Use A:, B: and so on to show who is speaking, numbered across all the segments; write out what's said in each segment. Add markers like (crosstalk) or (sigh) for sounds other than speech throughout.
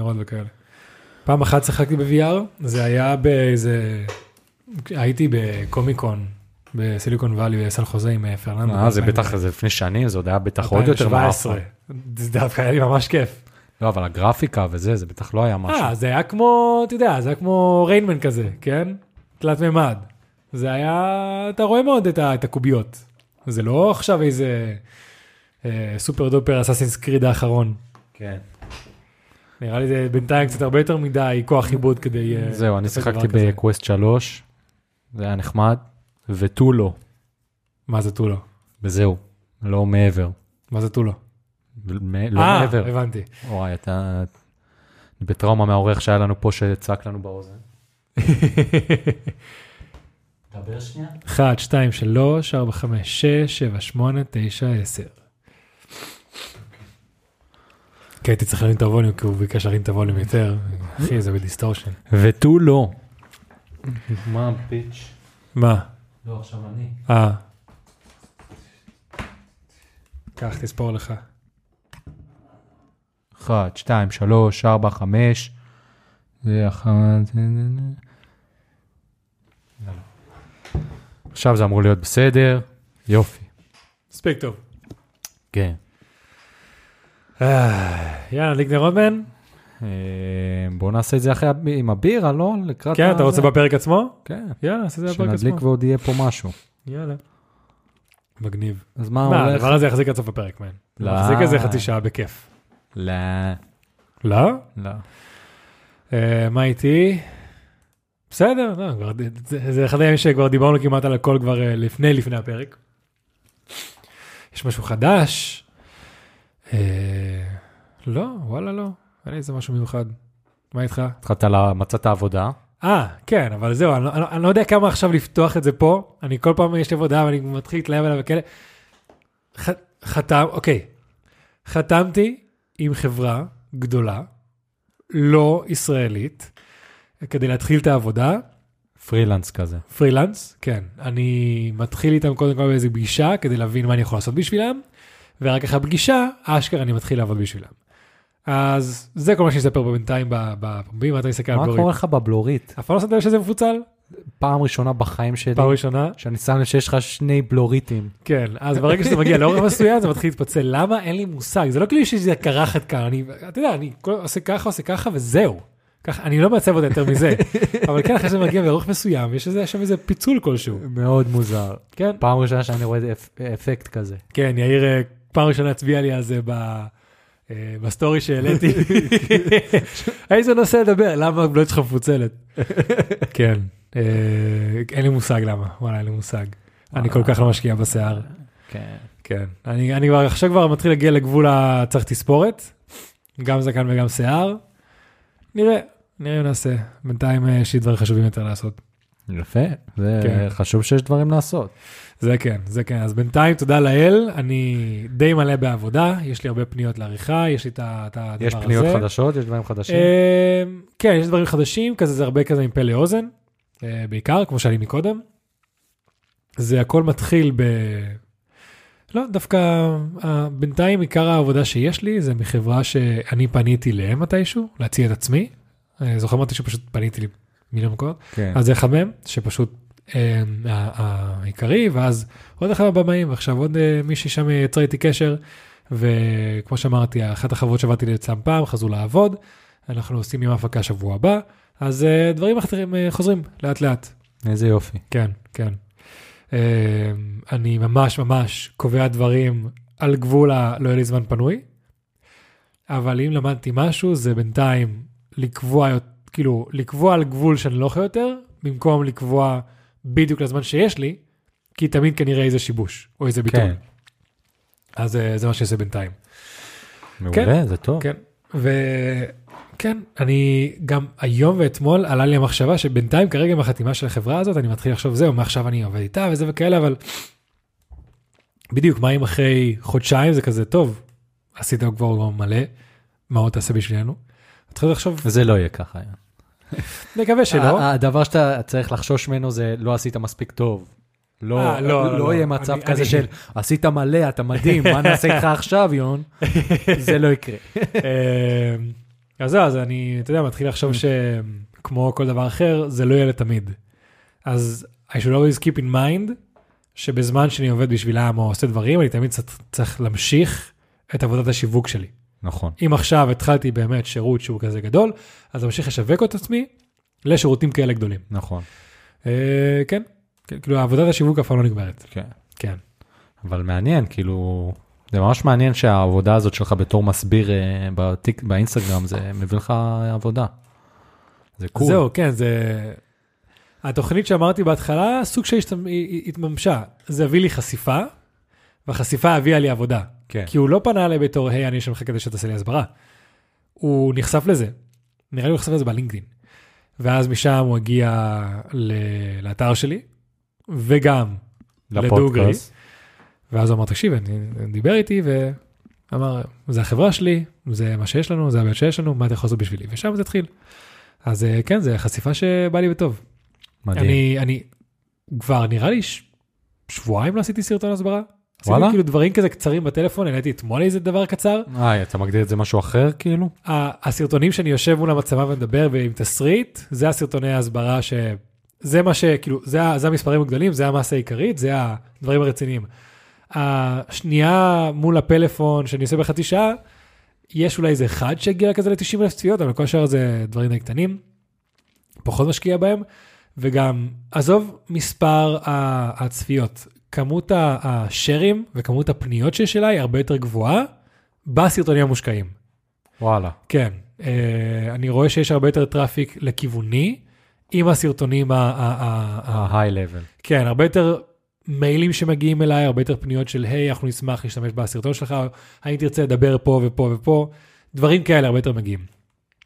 A: נרות וכאלה. פעם אחת שיחקתי ב-VR, זה היה באיזה... הייתי בקומיקון, בסיליקון וואלי, בסן חוזה עם פרננדו.
B: אה, זה בטח, זה לפני שנים, זה עוד היה בטח עוד יותר אה.
A: מעפן. זה דווקא היה לי ממש כיף.
B: לא, אבל הגרפיקה וזה, זה בטח לא היה משהו.
A: אה, זה היה כמו, אתה יודע, זה היה כמו ריינמן כזה, כן? תלת מימד. זה היה, אתה רואה מאוד את ה- את הקוביות. זה לא עכשיו איזה אה, סופר דופר אסאסינס קריד האחרון.
B: כן.
A: נראה לי זה בינתיים קצת הרבה יותר מדי כוח עיבוד כדי... אה,
B: זהו, אני
A: לעשות
B: שיחקתי
A: דבר כזה.
B: בקווסט 3, זה היה נחמד, ותו לא,
A: מה זה טולו?
B: וזהו, לא מעבר.
A: מה זה טולו?
B: מ- לא
A: אה,
B: מעבר.
A: הבנתי.
B: וואי, אתה... אני בטראומה מהאורח שהיה לנו פה שצעק לנו באוזן. דבר שנייה.
A: 1, 2, 3, 4, 5, 6, 7, 8, 9, 10. כן, הייתי צריך להרים את הווליום, כי הוא ביקש להרים את הווליום יותר. אחי, זה בדיסטורשן.
B: ותו לא. מה פיץ'?
A: מה?
B: לא, עכשיו אני.
A: אה. קח, תספור לך.
B: 1, 2, 3, 4, 5. זה אחת... עכשיו זה אמור להיות בסדר. יופי.
A: מספיק טוב.
B: כן.
A: אה, יאללה, ליגנר רודמן?
B: בואו אה, נעשה את זה אחרי הב- עם הבירה, לא? לקראת...
A: כן, אתה
B: הזה.
A: רוצה בפרק עצמו?
B: כן.
A: יאללה, נעשה את זה בפרק עצמו.
B: שנדליק ועוד יהיה פה משהו.
A: יאללה. מגניב.
B: אז מה
A: מה,
B: הולך?
A: הדבר הזה יחזיק עד סוף הפרק, מן.
B: לא.
A: מחזיק איזה חצי שעה בכיף.
B: לא.
A: לא?
B: לא.
A: אה, מה איתי? בסדר, לא, כבר, זה, זה אחד הימים שכבר דיברנו כמעט על הכל כבר אה, לפני לפני הפרק. יש משהו חדש? אה, לא, וואלה לא, אין לי איזה משהו מיוחד. מה איתך?
B: התחלת ל... מצאת עבודה.
A: אה, כן, אבל זהו, אני, לא- אני, לא- אני לא יודע כמה עכשיו לפתוח את זה פה, אני כל פעם יש לי עבודה ואני מתחיל להתלהב עליו וכאלה. ח, חתם, אוקיי, חתמתי עם חברה גדולה, לא ישראלית, כדי להתחיל את העבודה,
B: פרילנס כזה.
A: פרילנס, כן. אני מתחיל איתם קודם כל באיזו פגישה כדי להבין מה אני יכול לעשות בשבילם, ורק אחרי הפגישה, אשכרה אני מתחיל לעבוד בשבילם. אז זה כל מה שאני אספר פה בינתיים בפומבים, אתה מסתכל על
B: מה
A: כן, בלורית.
B: קורה לך בבלורית?
A: אף פעם לא שמת לב שזה מפוצל?
B: פעם ראשונה בחיים שלי
A: פעם ראשונה?
B: שאני שם לב שיש לך שני בלוריטים.
A: כן, אז ברגע שזה מגיע לאורך מסוים זה מתחיל להתפצל. למה? אין לי מושג, זה לא כאילו שזה קרחת כאן, אני, אתה יודע, אני כל- עושה ככה, עושה ככה וזהו. ככה, אני לא מעצב אותה יותר מזה, אבל כן, אחרי שזה מגיע לאורך מסוים, יש איזה- שם איזה פיצול כלשהו.
B: מאוד מוזר.
A: כן,
B: פעם ראשונה שאני רואה אפ- אפקט כזה.
A: כן, יאיר אה, פעם ראשונה הצביע לי על זה ב... אה, בסטורי שהעליתי, איזה נושא לדבר, למה הבלוט שלך מפוצלת? כן, אה, אין לי מושג למה, וואלה, אין לי מושג. אני כל כך לא משקיע בשיער.
B: כן.
A: כן, אני, אני כבר עכשיו כבר מתחיל להגיע לגבול הצריך תספורת, גם זקן וגם שיער. נראה, נראה אם נעשה. בינתיים אה, יש לי דברים חשובים יותר לעשות.
B: יפה. זה
A: כן.
B: חשוב שיש דברים לעשות.
A: זה כן, זה כן. אז בינתיים, תודה לאל, אני די מלא בעבודה, יש לי הרבה פניות לעריכה, יש לי את ה- את הדבר הזה.
B: יש פניות חדשות, יש דברים חדשים.
A: אה, כן, יש דברים חדשים, כזה זה הרבה כזה מפה לאוזן, אה, בעיקר, כמו שהיה לי מקודם. זה הכל מתחיל ב... לא, דווקא אה, בינתיים עיקר העבודה שיש לי זה מחברה שאני פניתי להם מתישהו, להציע את עצמי. אה, זוכר אמרתי שפשוט פניתי לי מיליון מקומות.
B: כן.
A: אז זה אחד מהם, שפשוט אה, ה- העיקרי, ואז עוד אחד הבמאים, ועכשיו עוד אה, מישהי שם יצר איתי קשר, וכמו שאמרתי, אחת החברות שעבדתי לצם פעם, חזרו לעבוד, אנחנו עושים עם ההפקה שבוע הבא, אז אה, דברים אחרים אה, חוזרים לאט לאט.
B: איזה יופי.
A: כן, כן. אה, אני ממש ממש קובע דברים על גבול ה... לא יהיה לי זמן פנוי, אבל אם למדתי משהו, זה בינתיים לקבוע, יות- כאילו, לקבוע על גבול שאני לא יכול יותר, במקום לקבוע בדיוק לזמן שיש לי, כי תמיד כנראה איזה שיבוש, או איזה ביטול.
B: כן.
A: כן. אז אה, זה מה שעושה בינתיים.
B: מעולה, זה טוב.
A: כן, וכן, אני גם היום ואתמול עלה לי המחשבה שבינתיים כרגע עם החתימה של החברה הזאת, אני מתחיל לחשוב זהו, מעכשיו אני עובד איתה וזה וכאלה, אבל בדיוק, מה אם אחרי חודשיים זה כזה טוב, עשית כבר מלא, מה עוד תעשה בשבילנו? התחלתי לחשוב,
B: זה לא יהיה ככה.
A: נקווה שלא.
B: ה- הדבר שאתה צריך לחשוש ממנו זה לא עשית מספיק טוב. לא,
A: אה, לא,
B: לא,
A: לא,
B: לא
A: לא.
B: יהיה מצב
A: אני-
B: כזה
A: אני-
B: של עשית (laughs) מלא, אתה מדהים, מה נעשה איתך עכשיו, יון? זה לא יקרה.
A: אה, אז זהו, אז אני, אתה יודע, מתחיל לחשוב שכמו כל דבר אחר, זה לא יהיה לתמיד. אז I should always keep in mind שבזמן שאני עובד בשבילם או עושה דברים, אני תמיד צריך- צריך להמשיך את עבודת השיווק שלי.
B: נכון.
A: אם עכשיו התחלתי באמת שירות שהוא כזה גדול, אז אמשיך לשווק את עצמי לשירותים כאלה גדולים.
B: נכון.
A: אה, כן, כן, כאילו עבודת השיווק אף פעם לא נגמרת.
B: כן.
A: כן.
B: אבל מעניין, כאילו, זה ממש מעניין שהעבודה הזאת שלך בתור מסביר אה, בטיק, באינסטגרם, זה מביא לך עבודה. זה קול.
A: זהו, כן, זה... התוכנית שאמרתי בהתחלה, סוג של השת- היא- היא התממשה. זה הביא לי חשיפה, והחשיפה הביאה לי עבודה.
B: כן.
A: כי הוא לא פנה אליי בתור, היי, אני שם לך כדי שתעשה לי הסברה. הוא נחשף לזה. נראה לי הוא נחשף לזה בלינקדאין. ואז משם הוא הגיע ל- לאתר שלי, וגם, לדוגרי.
B: לפודקאסט.
A: ואז הוא אמר, תקשיב, אני, אני דיבר איתי, ואמר, זה החברה שלי, זה מה שיש לנו, זה הבעיות שיש לנו, מה אתה יכול לעשות בשבילי? ושם זה התחיל. אז אה, כן, זו חשיפה שבאה לי בטוב.
B: מדהים.
A: אני, אני כבר נראה לי ש... שבועיים לא עשיתי סרטון הסברה.
B: וואלה?
A: עשיתי כאילו דברים כזה קצרים בטלפון, העליתי אתמול איזה דבר קצר.
B: אה, אתה מגדיר את זה משהו אחר כאילו?
A: ה- הסרטונים שאני יושב מול המצלמה ומדבר ועם תסריט, זה הסרטוני ההסברה ש... זה מה שכאילו, זה, ה- זה המספרים הגדולים, זה המסה העיקרית, זה הדברים הרציניים. השנייה מול הפלאפון שאני עושה בחצי שעה, יש אולי איזה אחד שהגיע כזה ל-90 אלף צפיות, אבל כל השאר זה דברים די קטנים, פחות משקיע בהם, וגם, עזוב מספר ה- הצפיות, כמות ה- השרים וכמות הפניות שיש אליי הרבה יותר גבוהה בסרטונים המושקעים.
B: וואלה.
A: כן, אה, אני רואה שיש הרבה יותר טראפיק לכיווני עם הסרטונים, ה- ה- ה- ה-
B: ה-high level.
A: כן, הרבה יותר מיילים שמגיעים אליי, הרבה יותר פניות של, היי, אנחנו נשמח להשתמש בסרטון שלך, או, האם תרצה לדבר פה ופה ופה, דברים כאלה הרבה יותר מגיעים.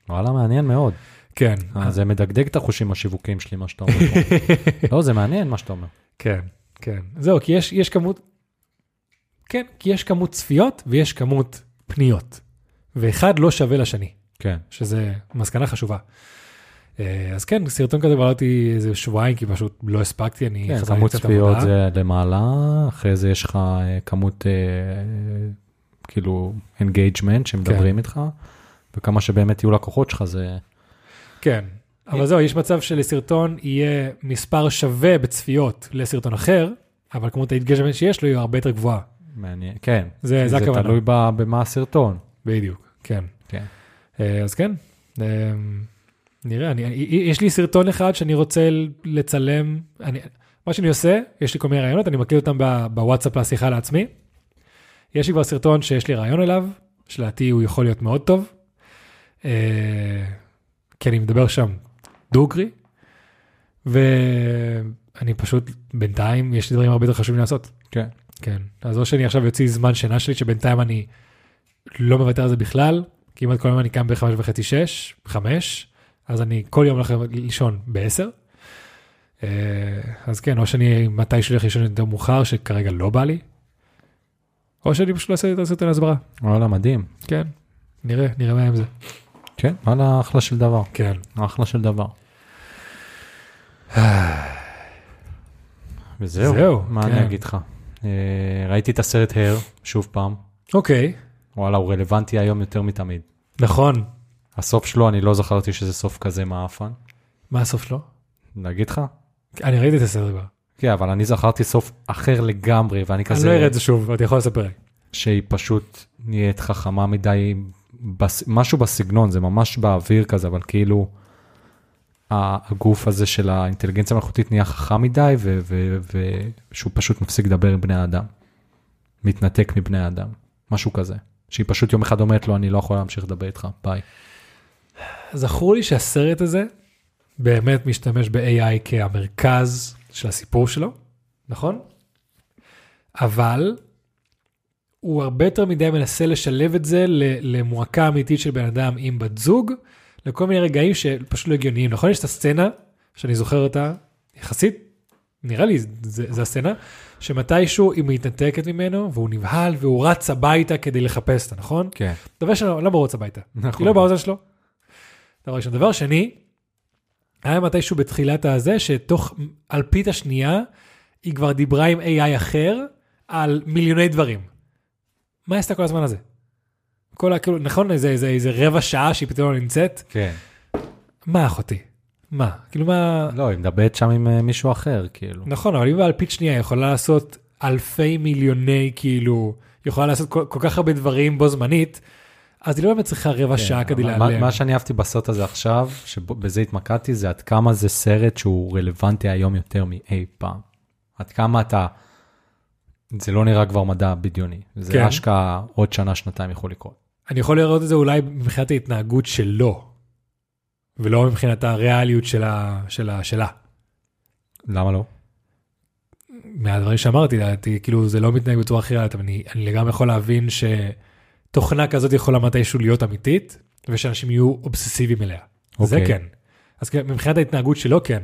B: וואלה, מעניין מאוד.
A: כן,
B: אה, זה מדגדג את החושים השיווקיים שלי, מה שאתה אומר. (laughs) פה. לא, זה מעניין מה שאתה אומר.
A: כן, כן. זהו, כי יש, יש כמות, כן, כי יש כמות צפיות ויש כמות פניות, ואחד לא שווה לשני.
B: כן.
A: שזה מסקנה חשובה. אה, אז כן, סרטון כזה בעלתי איזה שבועיים, כי פשוט לא הספקתי, אני
B: כן,
A: חזרתי
B: כמות
A: קצת
B: צפיות
A: עבודה.
B: זה למעלה, אחרי זה יש לך אה, כמות אה, כאילו אינגייג'מנט שמדברים איתך, וכמה שבאמת יהיו לקוחות שלך זה
A: כן, אבל זהו, יש מצב שלסרטון יהיה מספר שווה בצפיות לסרטון אחר, אבל כמות האינגייג'מנט שיש לו היא הרבה יותר גבוהה.
B: מעניין, כן.
A: זה, אה, זה
B: זה
A: הכוונה.
B: תלוי ב- במה הסרטון.
A: בדיוק, כן.
B: כן.
A: אה, אז כן, אה, נראה, אני, אני- יש לי סרטון אחד שאני רוצה לצלם, אני, מה שאני עושה, יש לי כל מיני רעיונות, אני מקליט אותם ב- בוואטסאפ לשיחה לעצמי. יש לי כבר סרטון שיש לי רעיון אליו, שלדעתי הוא יכול להיות מאוד טוב. אה, כי אני מדבר שם דוגרי, ואני פשוט, בינתיים יש לי דברים הרבה יותר חשובים לעשות.
B: כן.
A: כן, אז או שאני עכשיו יוציא זמן שינה שלי, שבינתיים אני לא מוותר על זה בכלל, כי אם כל יום אני קם בחמש וחצי, שש, חמש, אז אני כל יום הולך לישון בעשר. אה, אז כן, או שאני מתישהו הולך לישון יותר מאוחר, שכרגע לא בא לי, או שאני פשוט לא אעשה את הסרטון הסברה.
B: וואלה, מדהים.
A: כן, נראה, נראה מה עם זה.
B: כן, וואלה, אחלה של דבר.
A: כן.
B: אחלה של דבר. (sighs) וזהו,
A: זהו,
B: מה
A: כן.
B: אני אגיד לך? אה, ראיתי את הסרט הר, שוב פעם,
A: אוקיי,
B: וואלה, הוא רלוונטי היום יותר מתמיד.
A: נכון.
B: הסוף שלו, אני לא זכרתי שזה סוף כזה מעפן.
A: מה הסוף שלו?
B: להגיד לך?
A: אני ראיתי את הסרט כבר.
B: כן, אבל אני זכרתי סוף אחר לגמרי, ואני
A: אני
B: כזה...
A: לא אראה את זה שוב, אתה יכול לספר לי.
B: שהיא פשוט נהיית חכמה מדי, בס... משהו בסגנון, זה ממש באוויר כזה, אבל כאילו, ה- הגוף הזה של האינטליגנציה המלאכותית נהיה חכם מדי, ו... ו... ו... שהוא פשוט מפסיק לדבר עם בני האדם. מתנתק מבני האדם, משהו כזה. שהיא פשוט יום אחד אומרת לו, אני לא יכולה להמשיך לדבר איתך, ביי.
A: זכור לי שהסרט הזה באמת משתמש ב-AI כהמרכז של הסיפור שלו, נכון? אבל הוא הרבה יותר מדי מנסה לשלב את זה ל- למועקה אמיתית של בן אדם עם בת זוג, לכל מיני רגעים שפשוט לא הגיוניים. נכון, יש את הסצנה, שאני זוכר אותה יחסית, נראה לי זה, זה הסצנה, שמתישהו היא מתנתקת ממנו והוא נבהל והוא רץ הביתה כדי לחפש אותה, נכון?
B: כן.
A: דבר שלא, למה הוא רץ הביתה?
B: נכון.
A: היא לא באוזן שלו. דבר ראשון. דבר שני, היה מתישהו בתחילת הזה, שתוך אלפית השנייה, היא כבר דיברה עם AI אחר על מיליוני דברים. מה היא עשתה כל הזמן הזה? כל ה... כאילו, נכון, איזה, איזה, איזה רבע שעה שהיא פתאום לא נמצאת?
B: כן.
A: מה אחותי? מה? כאילו מה...
B: לא, היא מדברת שם עם אה, מישהו אחר, כאילו.
A: נכון, אבל אם באלפית שנייה היא יכולה לעשות אלפי מיליוני, כאילו, היא יכולה לעשות כל, כל כך הרבה דברים בו זמנית, אז היא לא באמת צריכה רבע
B: כן,
A: שעה כדי
B: אבל
A: להיעלם.
B: מה, מה שאני אהבתי בסרט הזה עכשיו, שבזה התמקדתי, זה עד כמה זה סרט שהוא רלוונטי היום יותר מאי פעם. עד כמה אתה, זה לא נראה כבר מדע בדיוני. זה
A: כן.
B: כן. אשכרה עוד שנה, שנתיים יכול לקרות.
A: אני יכול לראות את זה אולי מבחינת ההתנהגות שלו, ולא מבחינת הריאליות שלה, שלה, שלה.
B: למה לא?
A: מהדברים שאמרתי, לדעתי, כאילו זה לא מתנהג בצורה הכי ריאלית, אבל אני, אני לגמרי יכול להבין שתוכנה כזאת יכולה מתישהו להיות אמיתית, ושאנשים יהיו אובססיביים אליה. Okay. זה
B: אוקיי.
A: כן. אז כאילו, מבחינת ההתנהגות שלו כן.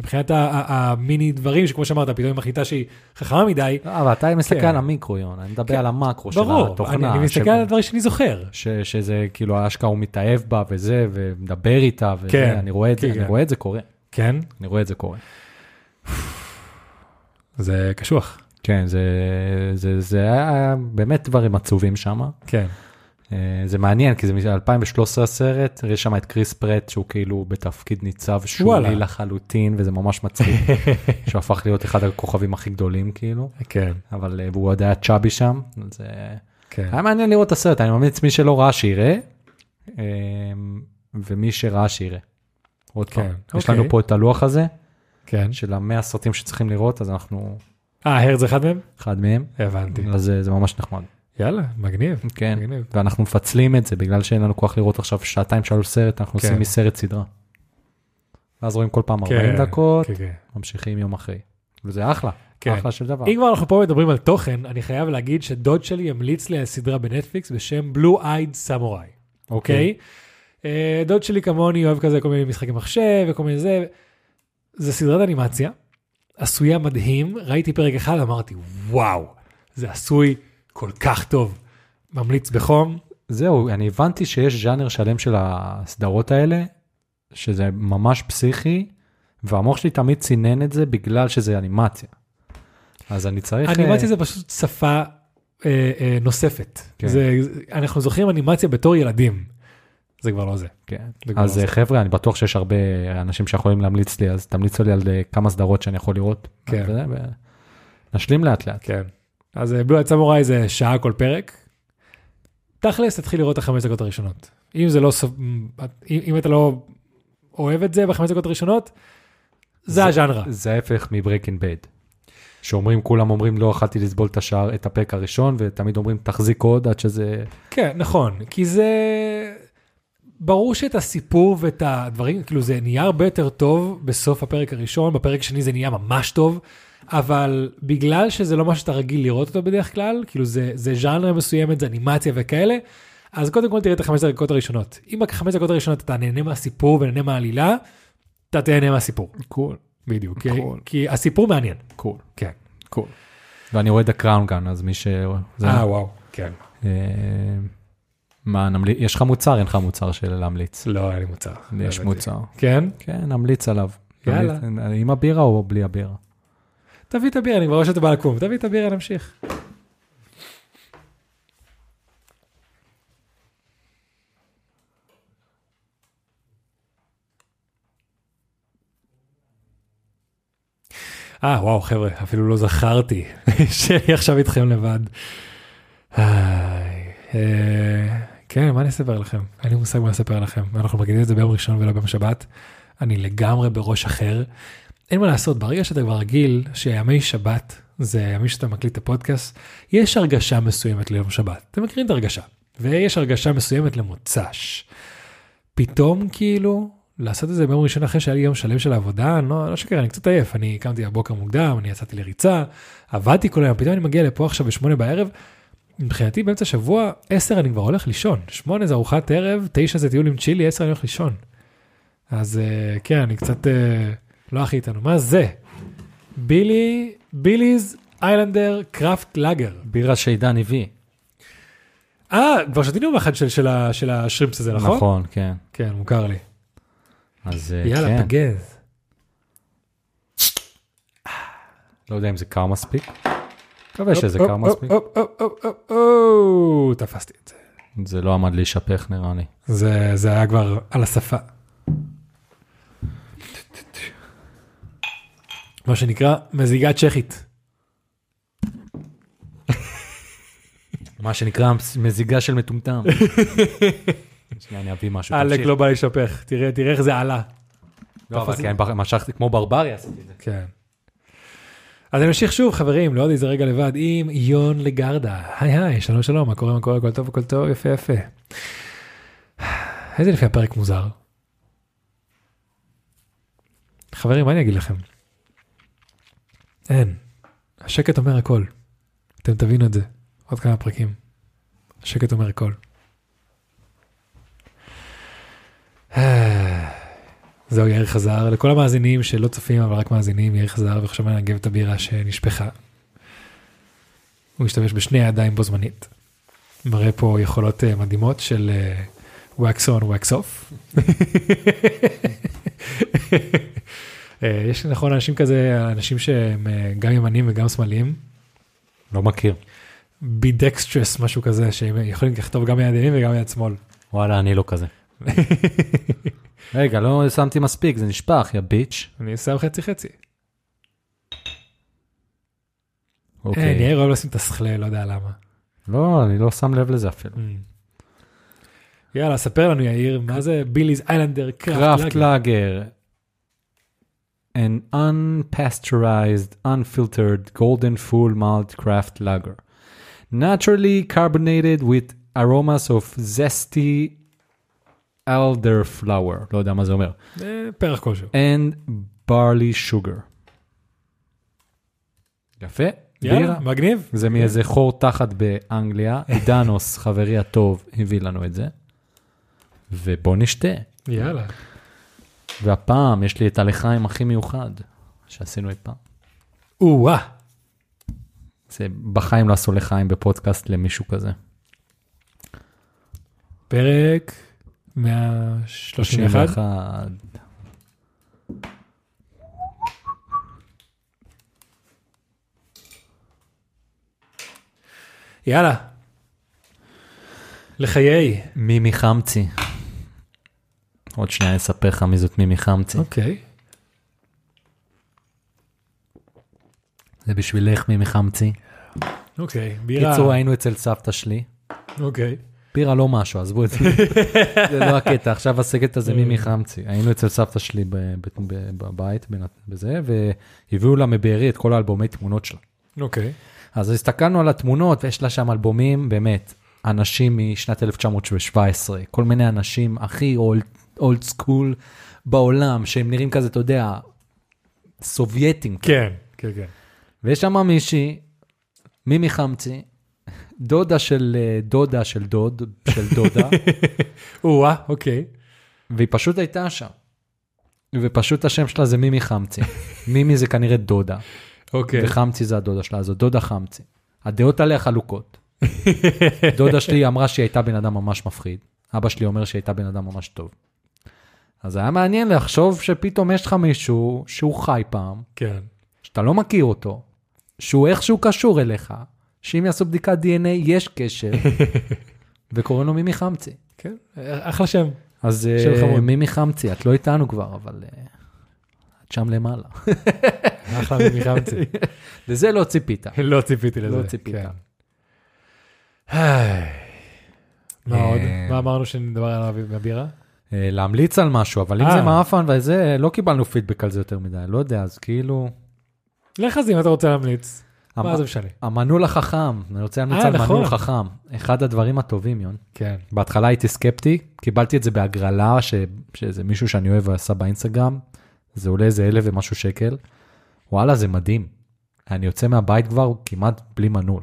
A: מבחינת ה- ה- המיני דברים שכמו שאמרת, פתאום היא מחליטה שהיא חכמה מדי,
B: לא, אבל אתה מסתכל
A: כן.
B: על המיקרו, יון, אני מדבר
A: כן.
B: על המקרו של
A: ברור, אני,
B: התוכנה.
A: אני מסתכל
B: ש-
A: על הדברים שאני זוכר.
B: ש, שזה כאילו אשכרה הוא מתאהב בה וזה, ומדבר איתה, וזה,
A: כן,
B: אני רואה את זה,
A: כן,
B: אני
A: כן.
B: רואה את זה קורה.
A: כן,
B: אני רואה את זה קורה.
A: זה קשוח.
B: כן, זה, זה, זה היה באמת דברים עצובים שם.
A: כן.
B: אה, זה מעניין, כי זה מ-2013 הסרט, יש שם את קריס פרט שהוא כאילו בתפקיד ניצב
A: וואלה.
B: שולי לחלוטין, וזה
A: (laughs)
B: ממש מצחיק, שהוא הפך להיות אחד הכוכבים הכי גדולים כאילו,
A: כן,
B: אבל אה, והוא עוד היה צ'אבי שם, זה
A: כן.
B: היה מעניין לראות את הסרט, אני ממליץ מי שלא ראה שיראה, אה, ומי שראה שיראה. עוד
A: כן,
B: פעם, יש
A: אוקיי.
B: לנו פה את הלוח הזה
A: כן.
B: של המאה סרטים שצריכים לראות, אז אנחנו
A: אה, הרד זה אחד מהם?
B: אחד מהם,
A: הבנתי.
B: אז אה, זה ממש נחמד.
A: יאללה, מגניב.
B: כן,
A: מגניב.
B: ואנחנו מפצלים את זה בגלל שאין לנו כוח לראות עכשיו שעתיים שלוש סרט, אנחנו
A: כן.
B: עושים מסרט סדרה. ואז רואים כל פעם
A: כן,
B: 40 דקות,
A: כן, כן.
B: ממשיכים יום אחרי. וזה אחלה,
A: כן.
B: אחלה של דבר.
A: אם כבר אנחנו פה מדברים על תוכן, אני חייב להגיד שדוד שלי המליץ לי על סדרה בנטפליקס בשם Blue Eyed Samurai, אוקיי? אה, דוד שלי כמוני אוהב כזה כל מיני משחקי מחשב וכל מיני זה. זה סדרת אנימציה, עשויה מדהים, ראיתי פרק אחד, אמרתי, וואו, זה עשוי כל כך טוב. ממליץ בחום,
B: זהו, אני הבנתי שיש ז'אנר שלם של הסדרות האלה, שזה ממש פסיכי, והמוח שלי תמיד צינן את זה בגלל שזה אנימציה. אז אני צריך...
A: אנימציה
B: אה,
A: זה פשוט שפה אה, אה, נוספת.
B: כן.
A: זה, אנחנו זוכרים אנימציה בתור ילדים, זה כבר לא זה.
B: כן.
A: זה לא- כבר
B: אז
A: זה.
B: אה, חבר'ה, אני בטוח שיש הרבה אנשים שיכולים להמליץ לי, אז תמליצו לי על אה, כמה סדרות שאני יכול לראות.
A: כן.
B: וזה, ו- נשלים לאט לאט.
A: כן. אז בלו סמוראי זה שעה כל פרק. תכלס, תתחיל לראות את החמש דקות הראשונות. אם זה לא... ס- אם, אם אתה לא אוהב את זה בחמש דקות הראשונות, זה
B: זה-
A: הז'אנרה.
B: זה ההפך מברקינג בד. שאומרים, כולם אומרים, לא יכלתי לסבול את השער, את הפרק הראשון, ותמיד אומרים, תחזיק עוד עד שזה...
A: כן, נכון, כי זה... ברור שאת הסיפור ואת הדברים, כאילו זה נהיה הרבה יותר טוב בסוף הפרק הראשון, בפרק השני זה נהיה ממש טוב, אבל בגלל שזה לא משהו שאתה רגיל לראות אותו בדרך כלל, כאילו זה, זה ז'אנר מסוימת, זה אנימציה וכאלה, אז קודם כל תראה את החמש דקות הראשונות. אם בחמש דקות הראשונות אתה נהנה מהסיפור ונהנה מהעלילה, אתה תהנה מהסיפור.
B: קול,
A: בדיוק, כי,
B: נכון.
A: כי הסיפור מעניין.
B: קול,
A: כן.
B: קול. ואני רואה את הקראון גן, אז מי ש... זה-
A: אה, וואו. כן.
B: אה, מה, נמליץ? יש לך מוצר, אין לך מוצר של להמליץ.
A: לא, אין לי מוצר. לא
B: יש
A: הבאתי.
B: מוצר.
A: כן?
B: כן, נמליץ עליו.
A: יאללה.
B: נמליץ- אה, עם הבירה או בלי הבירה?
A: תביא את הבירה, אני כבר רואה שאתה בא לקום, תביא את הבירה, נמשיך. אה, וואו, חבר'ה, אפילו לא זכרתי (laughs) שאני עכשיו איתכם לבד. איי, אה, כן, מה אני אספר לכם? אין לי מושג מה לספר לכם. אנחנו מגיעים את זה ביום ראשון ולא ביום שבת. אני לגמרי בראש אחר. אין מה לעשות, ברגע שאתה כבר רגיל שימי שבת זה ימים שאתה מקליט את הפודקאסט, יש הרגשה מסוימת ליום שבת. אתם מכירים את הרגשה. ויש הרגשה מסוימת למוצ"ש. פתאום כאילו, לעשות את זה ביום ראשון אחרי שהיה לי יום שלם של עבודה, אני לא, לא שקר, אני קצת עייף, אני קמתי בבוקר מוקדם, אני יצאתי לריצה, עבדתי כל היום, פתאום אני מגיע לפה עכשיו בשמונה בערב. מבחינתי באמצע השבוע, עשר אני כבר הולך לישון, שמונה זה ארוחת ערב, תשע זה טיול עם צ'ילי, עשר אני הולך לישון. אז אה, כן, אני קצת אה, לא הכי איתנו. מה זה? בילי, ביליז איילנדר קראפט לאגר.
B: בירה שעידן הביא.
A: אה, כבר שתינו מאחד של, של, ה- של השרימפס הזה, נכון?
B: נכון, כן.
A: כן, מוכר לי.
B: אז אה,
A: יאללה,
B: כן.
A: פגז.
B: לא יודע אם זה קר מספיק. מקווה שזה
A: הופ,
B: קר
A: הופ,
B: מספיק.
A: הופ, הופ, הופ, הופ, הופ, תפסתי את זה.
B: זה לא עמד להישפך נראה לי.
A: זה, זה היה כבר על השפה. מה שנקרא מזיגה צ'כית.
B: מה שנקרא מזיגה של מטומטם. שנייה, אני אביא משהו.
A: עלק
B: תמשיך.
A: לא בא להישפך, תראה, תראה איך זה עלה.
B: לא, אבל כן, בר- משכתי כמו ברברי עשיתי את זה.
A: כן. אז אני אמשיך שוב חברים, לא עוד איזה רגע לבד, עם יון לגרדה. היי היי, שלום שלום, מה קורה, מה קורה, הכל טוב, הכל טוב, יפה יפה. איזה לפי הפרק מוזר. חברים, מה אני אגיד לכם? אין. השקט אומר הכל. אתם תבינו את זה. עוד כמה פרקים. השקט אומר הכל. זהו יאיר חזר לכל המאזינים שלא צופים אבל רק מאזינים יאיר חזר ועכשיו אני אנגב את הבירה שנשפכה. הוא השתמש בשני הידיים בו זמנית. מראה פה יכולות אה, מדהימות של wax on wax off. אה, יש נכון אנשים כזה אנשים שהם אה, גם ימנים וגם שמאליים
B: לא מכיר.
A: בידקסטרס משהו כזה שהם יכולים לכתוב גם מיד ימין וגם מיד שמאל.
B: וואלה, אני לא כזה. רגע, לא שמתי מספיק, זה נשפך, יא ביץ'.
A: אני שם חצי חצי. אין,
B: אוקיי.
A: יאיר אה, אוהב לשים את הסכלה לא יודע למה.
B: לא, אני לא שם לב לזה אפילו.
A: יאללה, ספר לנו יאיר, מה זה ביליז איילנדר קראפט
B: קראפט
A: לאג?
B: לאגר. An unpasteurized, unfiltered, golden full malt craft lager. Naturally carbonated with aromas of zesty elderflower, לא יודע מה זה אומר,
A: אה, פרח כלשהו.
B: and barley sugar. יפה, בירה.
A: יאללה, מגניב.
B: זה מאיזה חור תחת באנגליה, עידנוס, (laughs) חברי הטוב, הביא לנו את זה, ובוא נשתה.
A: יאללה.
B: והפעם יש לי את הלחיים הכי מיוחד שעשינו אי פעם.
A: או-אה.
B: זה בחיים לא עשו לחיים בפודקאסט למישהו כזה.
A: פרק 131.
B: 91.
A: יאללה. לחיי.
B: מימי חמצי. עוד שנייה אני אספר לך מי זאת מימי חמצי.
A: אוקיי.
B: זה בשבילך מימי חמצי.
A: אוקיי, בירה.
B: בקיצור היינו אצל סבתא שלי.
A: אוקיי.
B: בירה לא משהו, עזבו את זה. זה לא הקטע, עכשיו הסגת הזה מימי חמצי. היינו אצל סבתא שלי ב- ב- ב- בבית, בנת- בזה, והביאו לה מבארי את כל האלבומי תמונות שלה.
A: אוקיי.
B: אז הסתכלנו על התמונות, ויש לה שם אלבומים, באמת, אנשים משנת 1917, כל מיני אנשים הכי אולד סקול בעולם, שהם נראים כזה, אתה יודע, סובייטים.
A: כן, כן, כן.
B: ויש שם מישהי, מימי חמצי, דודה של אה, דודה של דוד, של דודה,
A: או-אה, אוקיי.
B: והיא פשוט הייתה שם. ופשוט השם שלה זה מימי חמצי. מימי זה כנראה דודה,
A: אוקיי.
B: וחמצי זה הדודה שלה, אז דודה חמצי. הדעות עליה חלוקות. (laughs) דודה שלי אמרה שהיא הייתה בן אדם ממש מפחיד. אבא שלי אומר שהיא הייתה בן אדם ממש טוב. אז היה מעניין לחשוב שפתאום יש לך מישהו שהוא חי פעם,
A: כן.
B: שאתה לא מכיר אותו, שהוא איכשהו קשור אליך, שאם יעשו בדיקת DNA יש (laughs) קשר, וקוראים לו מימי חמצי.
A: כן. אה, אחלה שם.
B: אז
A: שם
B: אה,
A: חמוד.
B: מימי חמצי, את לא איתנו כבר, אבל אה, את שם למעלה.
A: אחלה ממי חמצי. (laughs)
B: לזה לא ציפית.
A: לא ציפיתי לזה.
B: לא ציפית.
A: כן. היי. מה
B: אה,
A: עוד? מה אמרנו שנדבר עליו בבירה?
B: אה, להמליץ על משהו, אבל אם
A: אה.
B: זה מעפן וזה, לא קיבלנו פידבק על זה יותר מדי, לא יודע, אז כאילו... אמ-
A: לך על זה אם אתה רוצה להמליץ. מה זה משנה?
B: המנעול החכם, אני רוצה להמליץ
A: אה,
B: על
A: נכון.
B: מנעול חכם. אחד הדברים הטובים, יון.
A: כן.
B: בהתחלה הייתי סקפטי, קיבלתי את זה בהגרלה, ש... שזה מישהו שאני אוהב עשה באינסטגרם, זה עולה איזה אלף ומשהו שקל. וואלה, זה מדהים. אני יוצא מהבית כבר כמעט בלי מנעול,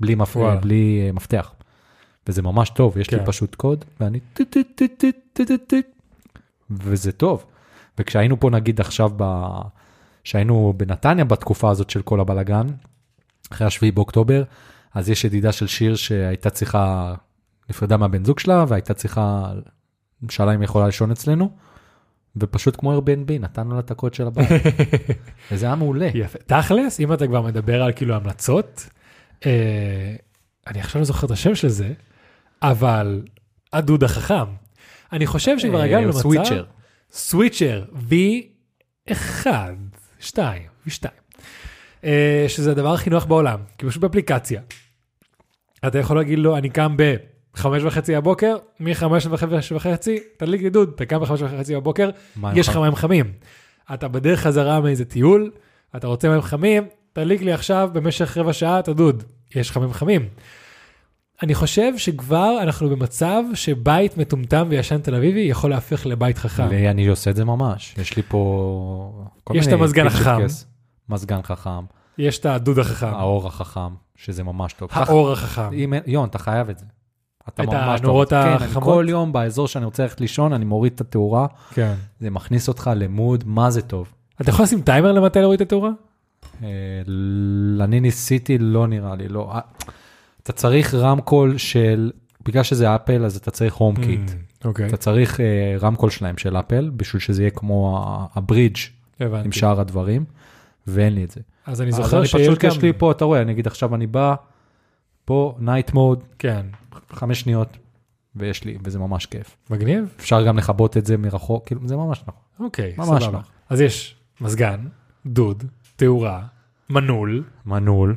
B: בלי, מפ...
A: וואלה.
B: בלי אה, מפתח. וזה ממש טוב, יש לי
A: כן.
B: פשוט קוד, ואני טוט טוט טוט טוט טוט טוט טוט, וזה טוב. וכשהיינו פה נגיד עכשיו, ב... כשהיינו בנתניה בתקופה הזאת של כל הבלגן, אחרי השביעי באוקטובר, אז יש ידידה של שיר שהייתה צריכה, נפרדה מהבן זוג שלה והייתה צריכה, שאלה אם היא יכולה לישון אצלנו, ופשוט כמו Airbnb נתנו לה את הקוד
A: (laughs)
B: של הבית. וזה היה מעולה.
A: יפה. תכלס, אם אתה כבר מדבר על כאילו המלצות, אה, אני עכשיו לא זוכר את השם של זה, אבל הדוד החכם. אני חושב שכבר
B: אה,
A: הגענו למצב...
B: סוויצ'ר.
A: סוויצ'ר, V1, 2, V2. אה, שזה הדבר הכי נוח בעולם, כי פשוט באפליקציה. אתה יכול להגיד לו, אני קם ב-5 וחצי הבוקר, מ-5 וחצי, תדליק לי דוד, אתה קם ב-5 וחצי בבוקר,
B: מה נכון?
A: יש לך
B: לך?
A: מים חמים. אתה בדרך חזרה מאיזה טיול, אתה רוצה מים חמים, תדליק לי עכשיו במשך רבע שעה את הדוד, יש לך מים חמים. אני חושב שכבר אנחנו במצב שבית מטומטם וישן תל אביבי יכול להפך לבית חכם.
B: לי- אני עושה את זה ממש, יש לי פה... כל
A: יש את
B: מיני
A: המזגן
B: פיצ'ר
A: החכם.
B: קס. מזגן חכם,
A: יש את הדוד החכם,
B: האור החכם, שזה ממש טוב.
A: האור החכם.
B: אה, אם אין- יון, אתה חייב את זה. אתה
A: את
B: ממש לא-
A: הנורות
B: כן, אני
A: החכמות?
B: כל יום באזור שאני רוצה ללכת לישון, אני מוריד את התאורה,
A: כן.
B: זה מכניס אותך למוד, מה זה טוב.
A: אתה יכול לשים טיימר למתי להוריד את התאורה?
B: אה, ל- אני ניסיתי, לא נראה לי, לא. אה, אתה צריך רמקול של, בגלל שזה אפל, אז אתה צריך הום קיט.
A: אוקיי,
B: אתה צריך אה, רמקול שלהם של אפל, בשביל שזה יהיה כמו ה- הברידג' עם
A: הבנתי.
B: שאר הדברים, ואין לי את זה.
A: אז אוקיי. אני
B: אז
A: זוכר
B: אני
A: שיש
B: פשוט יש לי
A: גם...
B: פה, אתה רואה, נגיד עכשיו אני בא, פה נייט מוד,
A: כן,
B: חמש שניות, ויש לי, וזה ממש כיף.
A: מגניב?
B: אפשר גם לכבות את זה מרחוק, כאילו, זה ממש נכון.
A: אוקיי,
B: ממש
A: סבבה.
B: לא.
A: אז יש מזגן, דוד, תאורה, מנעול,
B: מנעול.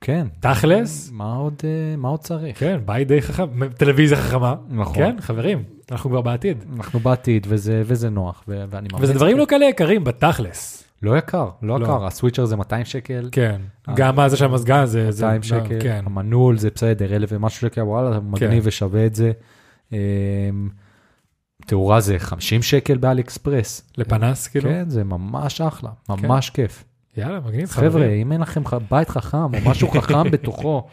B: כן.
A: תכלס,
B: מה עוד, אה, מה עוד צריך?
A: כן, בית די חכם, טלוויזיה חכמה.
B: נכון.
A: כן, חברים, אנחנו כבר בעתיד.
B: אנחנו בעתיד, וזה, וזה נוח, ו- ואני ממליץ.
A: וזה דברים לא כאלה יקרים בתכלס.
B: לא יקר, לא
A: לא.
B: יקר, הסוויצ'ר זה 200 שקל,
A: כן, גם הזה של המזגן זה... זה-
B: 200
A: לא,
B: אה. שקל,
A: כן,
B: המנעול זה בסדר, אלף ומשהו שקל, וואלה, מגניב ושווה את זה. אמ, תאורה זה 50 שקל באלי אקספרס.
A: לפנס כאילו.
B: כן, זה ממש אחלה, ממש כיף.
A: יאללה, מגניב.
B: חבר'ה,
A: חברים.
B: אם אין לכם ח- בית חכם או משהו
A: (laughs)
B: חכם בתוכו,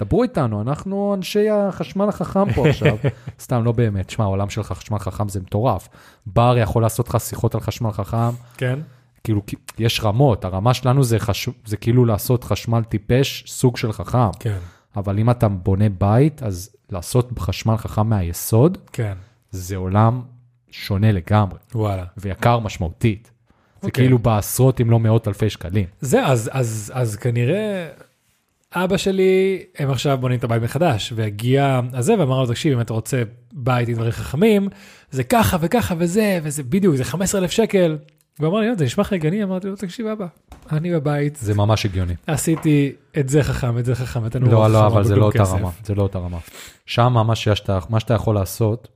B: דברו איתנו, אנחנו אנשי החשמל החכם
A: (laughs)
B: פה עכשיו. סתם, לא באמת. שמע, העולם של חשמל חכם זה מטורף. בר יכול לעשות לך שיחות על חשמל חכם,
A: כן,
B: כאילו, כי- יש רמות, הרמה שלנו זה, חש... זה כאילו לעשות חשמל טיפש, סוג של חכם.
A: כן,
B: אבל אם אתה בונה בית, אז לעשות חשמל חכם מהיסוד,
A: כן,
B: זה עולם שונה לגמרי,
A: וואלה.
B: ויקר משמעותית. זה
A: אוקיי.
B: כאילו בעשרות אם לא מאות אלפי שקלים.
A: זה, אז, אז, אז כנראה אבא שלי, הם עכשיו בונים את הבית מחדש, והגיע הזה ואמר לו, תקשיב, אם אתה רוצה בית עם דברים חכמים, זה ככה וככה וזה, וזה בדיוק, זה 15,000 שקל. והוא אמר לי, "יואו, זה נשמע לך הגיוני? אמרתי לו, תקשיב אבא, אני בבית,
B: זה ממש הגיוני.
A: עשיתי את זה חכם, את זה חכם, את הנאום
B: לא,
A: החכם,
B: לא, אבל זה לא
A: בכלום
B: אותה
A: כסף."
B: רמה, זה לא אותה רמה. שם מה שאתה, מה שאתה יכול לעשות,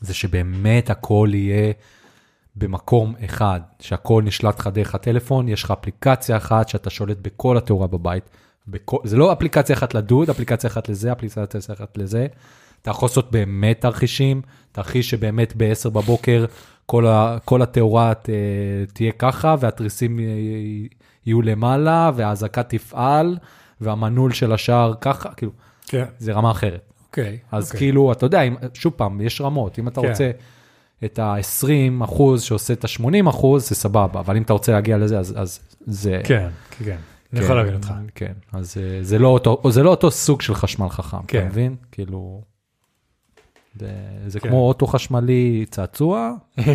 B: זה שבאמת הכל יהיה במקום אחד, שהכל נשלט לך דרך הטלפון, יש לך אפליקציה אחת שאתה שולט בכל התאורה בבית. בכל, זה לא אפליקציה אחת לדוד, אפליקציה אחת לזה, אפליקציה אחת לזה. אתה יכול לעשות באמת תרחישים, תרחיש שבאמת ב-10 בבוקר כל, ה, כל התאורה ת, תהיה ככה, והתריסים אה, יהיו למעלה, והאזעקה תפעל, והמנעול של השער ככה, כאילו,
A: כן,
B: זה רמה אחרת.
A: אוקיי.
B: אז okay.
A: אוקיי.
B: כאילו, אתה יודע, אם, שוב פעם, יש רמות, אם אתה
A: כן.
B: כן. רוצה את ה-20 אחוז שעושה את ה-80 אחוז, זה סבבה, אבל אם אתה רוצה להגיע לזה, אז, אז זה...
A: כן, כן, כן, אני יכול להבין אותך.
B: כן, אז אה, זה לא אותו, זה לא אותו סוג של חשמל חכם,
A: כן.
B: אתה מבין? כאילו, זה, זה
A: כן.
B: כמו אוטו חשמלי
A: (laughs)
B: צעצוע ו-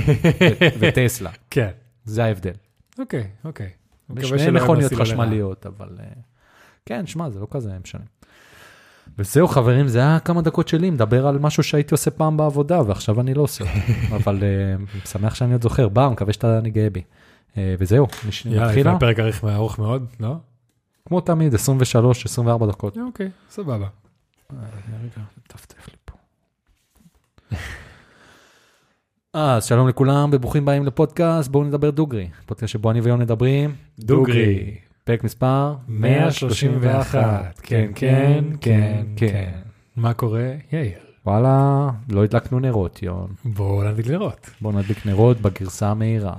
B: וטסלה,
A: כן,
B: זה ההבדל.
A: אוקיי, אוקיי. מקווה שלא
B: שני
A: ינסו
B: מכוניות
A: לא לרעה.
B: חשמליות, אבל... אה, כן, שמע, זה לא כזה משנה. וזהו חברים, זה היה כמה דקות שלי, מדבר על משהו שהייתי עושה פעם בעבודה, ועכשיו אני לא
A: (laughs)
B: עושה, אבל uh, שמח שאני עוד זוכר, בר, מקווה שאתה אני גאה בי. אה, וזהו, נש-
A: יאללה, לפני
B: נתחילה,
A: הפרק אריך- ארוך מאוד, לא?
B: כמו תמיד, 23-24 דקות.
A: אוקיי, סבבה.
B: טפטף לי (laughs) פה. אה, אז שלום לכולם וברוכים הבאים לפודקאסט, בואו נדבר דוגרי. פודקאסט שבו אני ויון מדברים.
A: דוגרי.
B: פרק מספר
A: 131. כן, כן, כן, כן. מה קורה? יאיר,
B: וואלה, לא הדלקנו נרות, יון.
A: בואו נדליק לראות.
B: בואו נדליק נרות בגרסה
A: (laughs)
B: המהירה.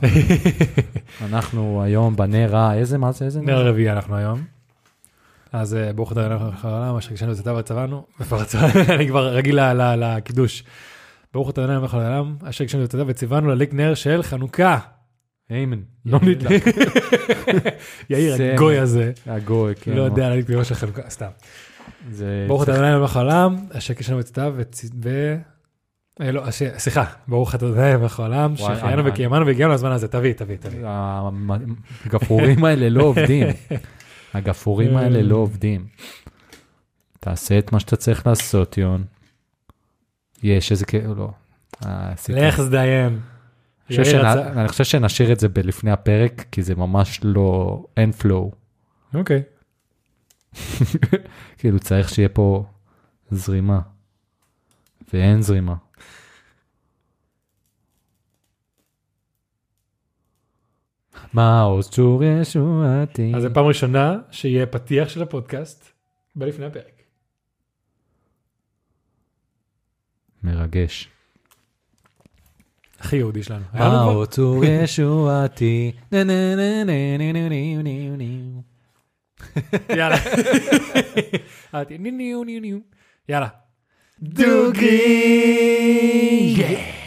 B: אנחנו היום בנר ה... איזה, מה זה, איזה נר?
A: נר רביעי אנחנו היום. אז אה, ברוך אתה אלינו אחרונה, מה שרגשנו זה טבע צבענו, (laughs) ופרצה, אני כבר רגיל ל- ל- לקידוש. ברוך אתה אלינו אחר העולם, אשר הגשנו את הטבע וציוונו להדליק נר של חנוכה.
B: איימן, לא
A: (laughs)
B: נדלק.
A: יאיר,
B: זה-
A: הגוי הזה,
B: הגוי, כן. אה,
A: לא יודע להדליק נר של חנוכה, סתם.
B: זה-
A: ברוך אתה אדוני מלך העולם, אשר קישנו את סתיו וצ... ו... אה, לא, אשר- סליחה, ברוך אתה אדוני מלך העולם,
B: וואי, אה,
A: שהחיינו
B: אני-
A: וקיימנו והגיענו לזמן הזה, תביא, תביא, תביא.
B: המ- הגפרורים האלה לא עובדים. הגפרורים האלה לא עובדים. תעשה את מה שאתה צריך לעשות, יון. יש איזה כאילו, לא. אה, עשיתי.
A: לך זדיין.
B: אני חושב
A: יאיר
B: שנ-
A: רצה-
B: אני חושב שנשאיר את זה בלפני הפרק, כי זה ממש לא, אין flow. (laughs)
A: אוקיי.
B: כאילו צריך שיהיה פה זרימה. ואין זרימה. מה עוד צור ישועתי?
A: אז זו פעם ראשונה שיהיה פתיח של הפודקאסט בלפני הפרק.
B: מרגש.
A: הכי יהודי שלנו. היה לנו
B: מה
A: כבר?
B: עוד
A: (laughs)
B: צור ישועתי? נה, נה, נה, נה, נה, נה, נה, נה, נה.
A: יאללה. (laughs) אהבתי, ניו ניו ניו ניו. יאללה.
B: דוגרי!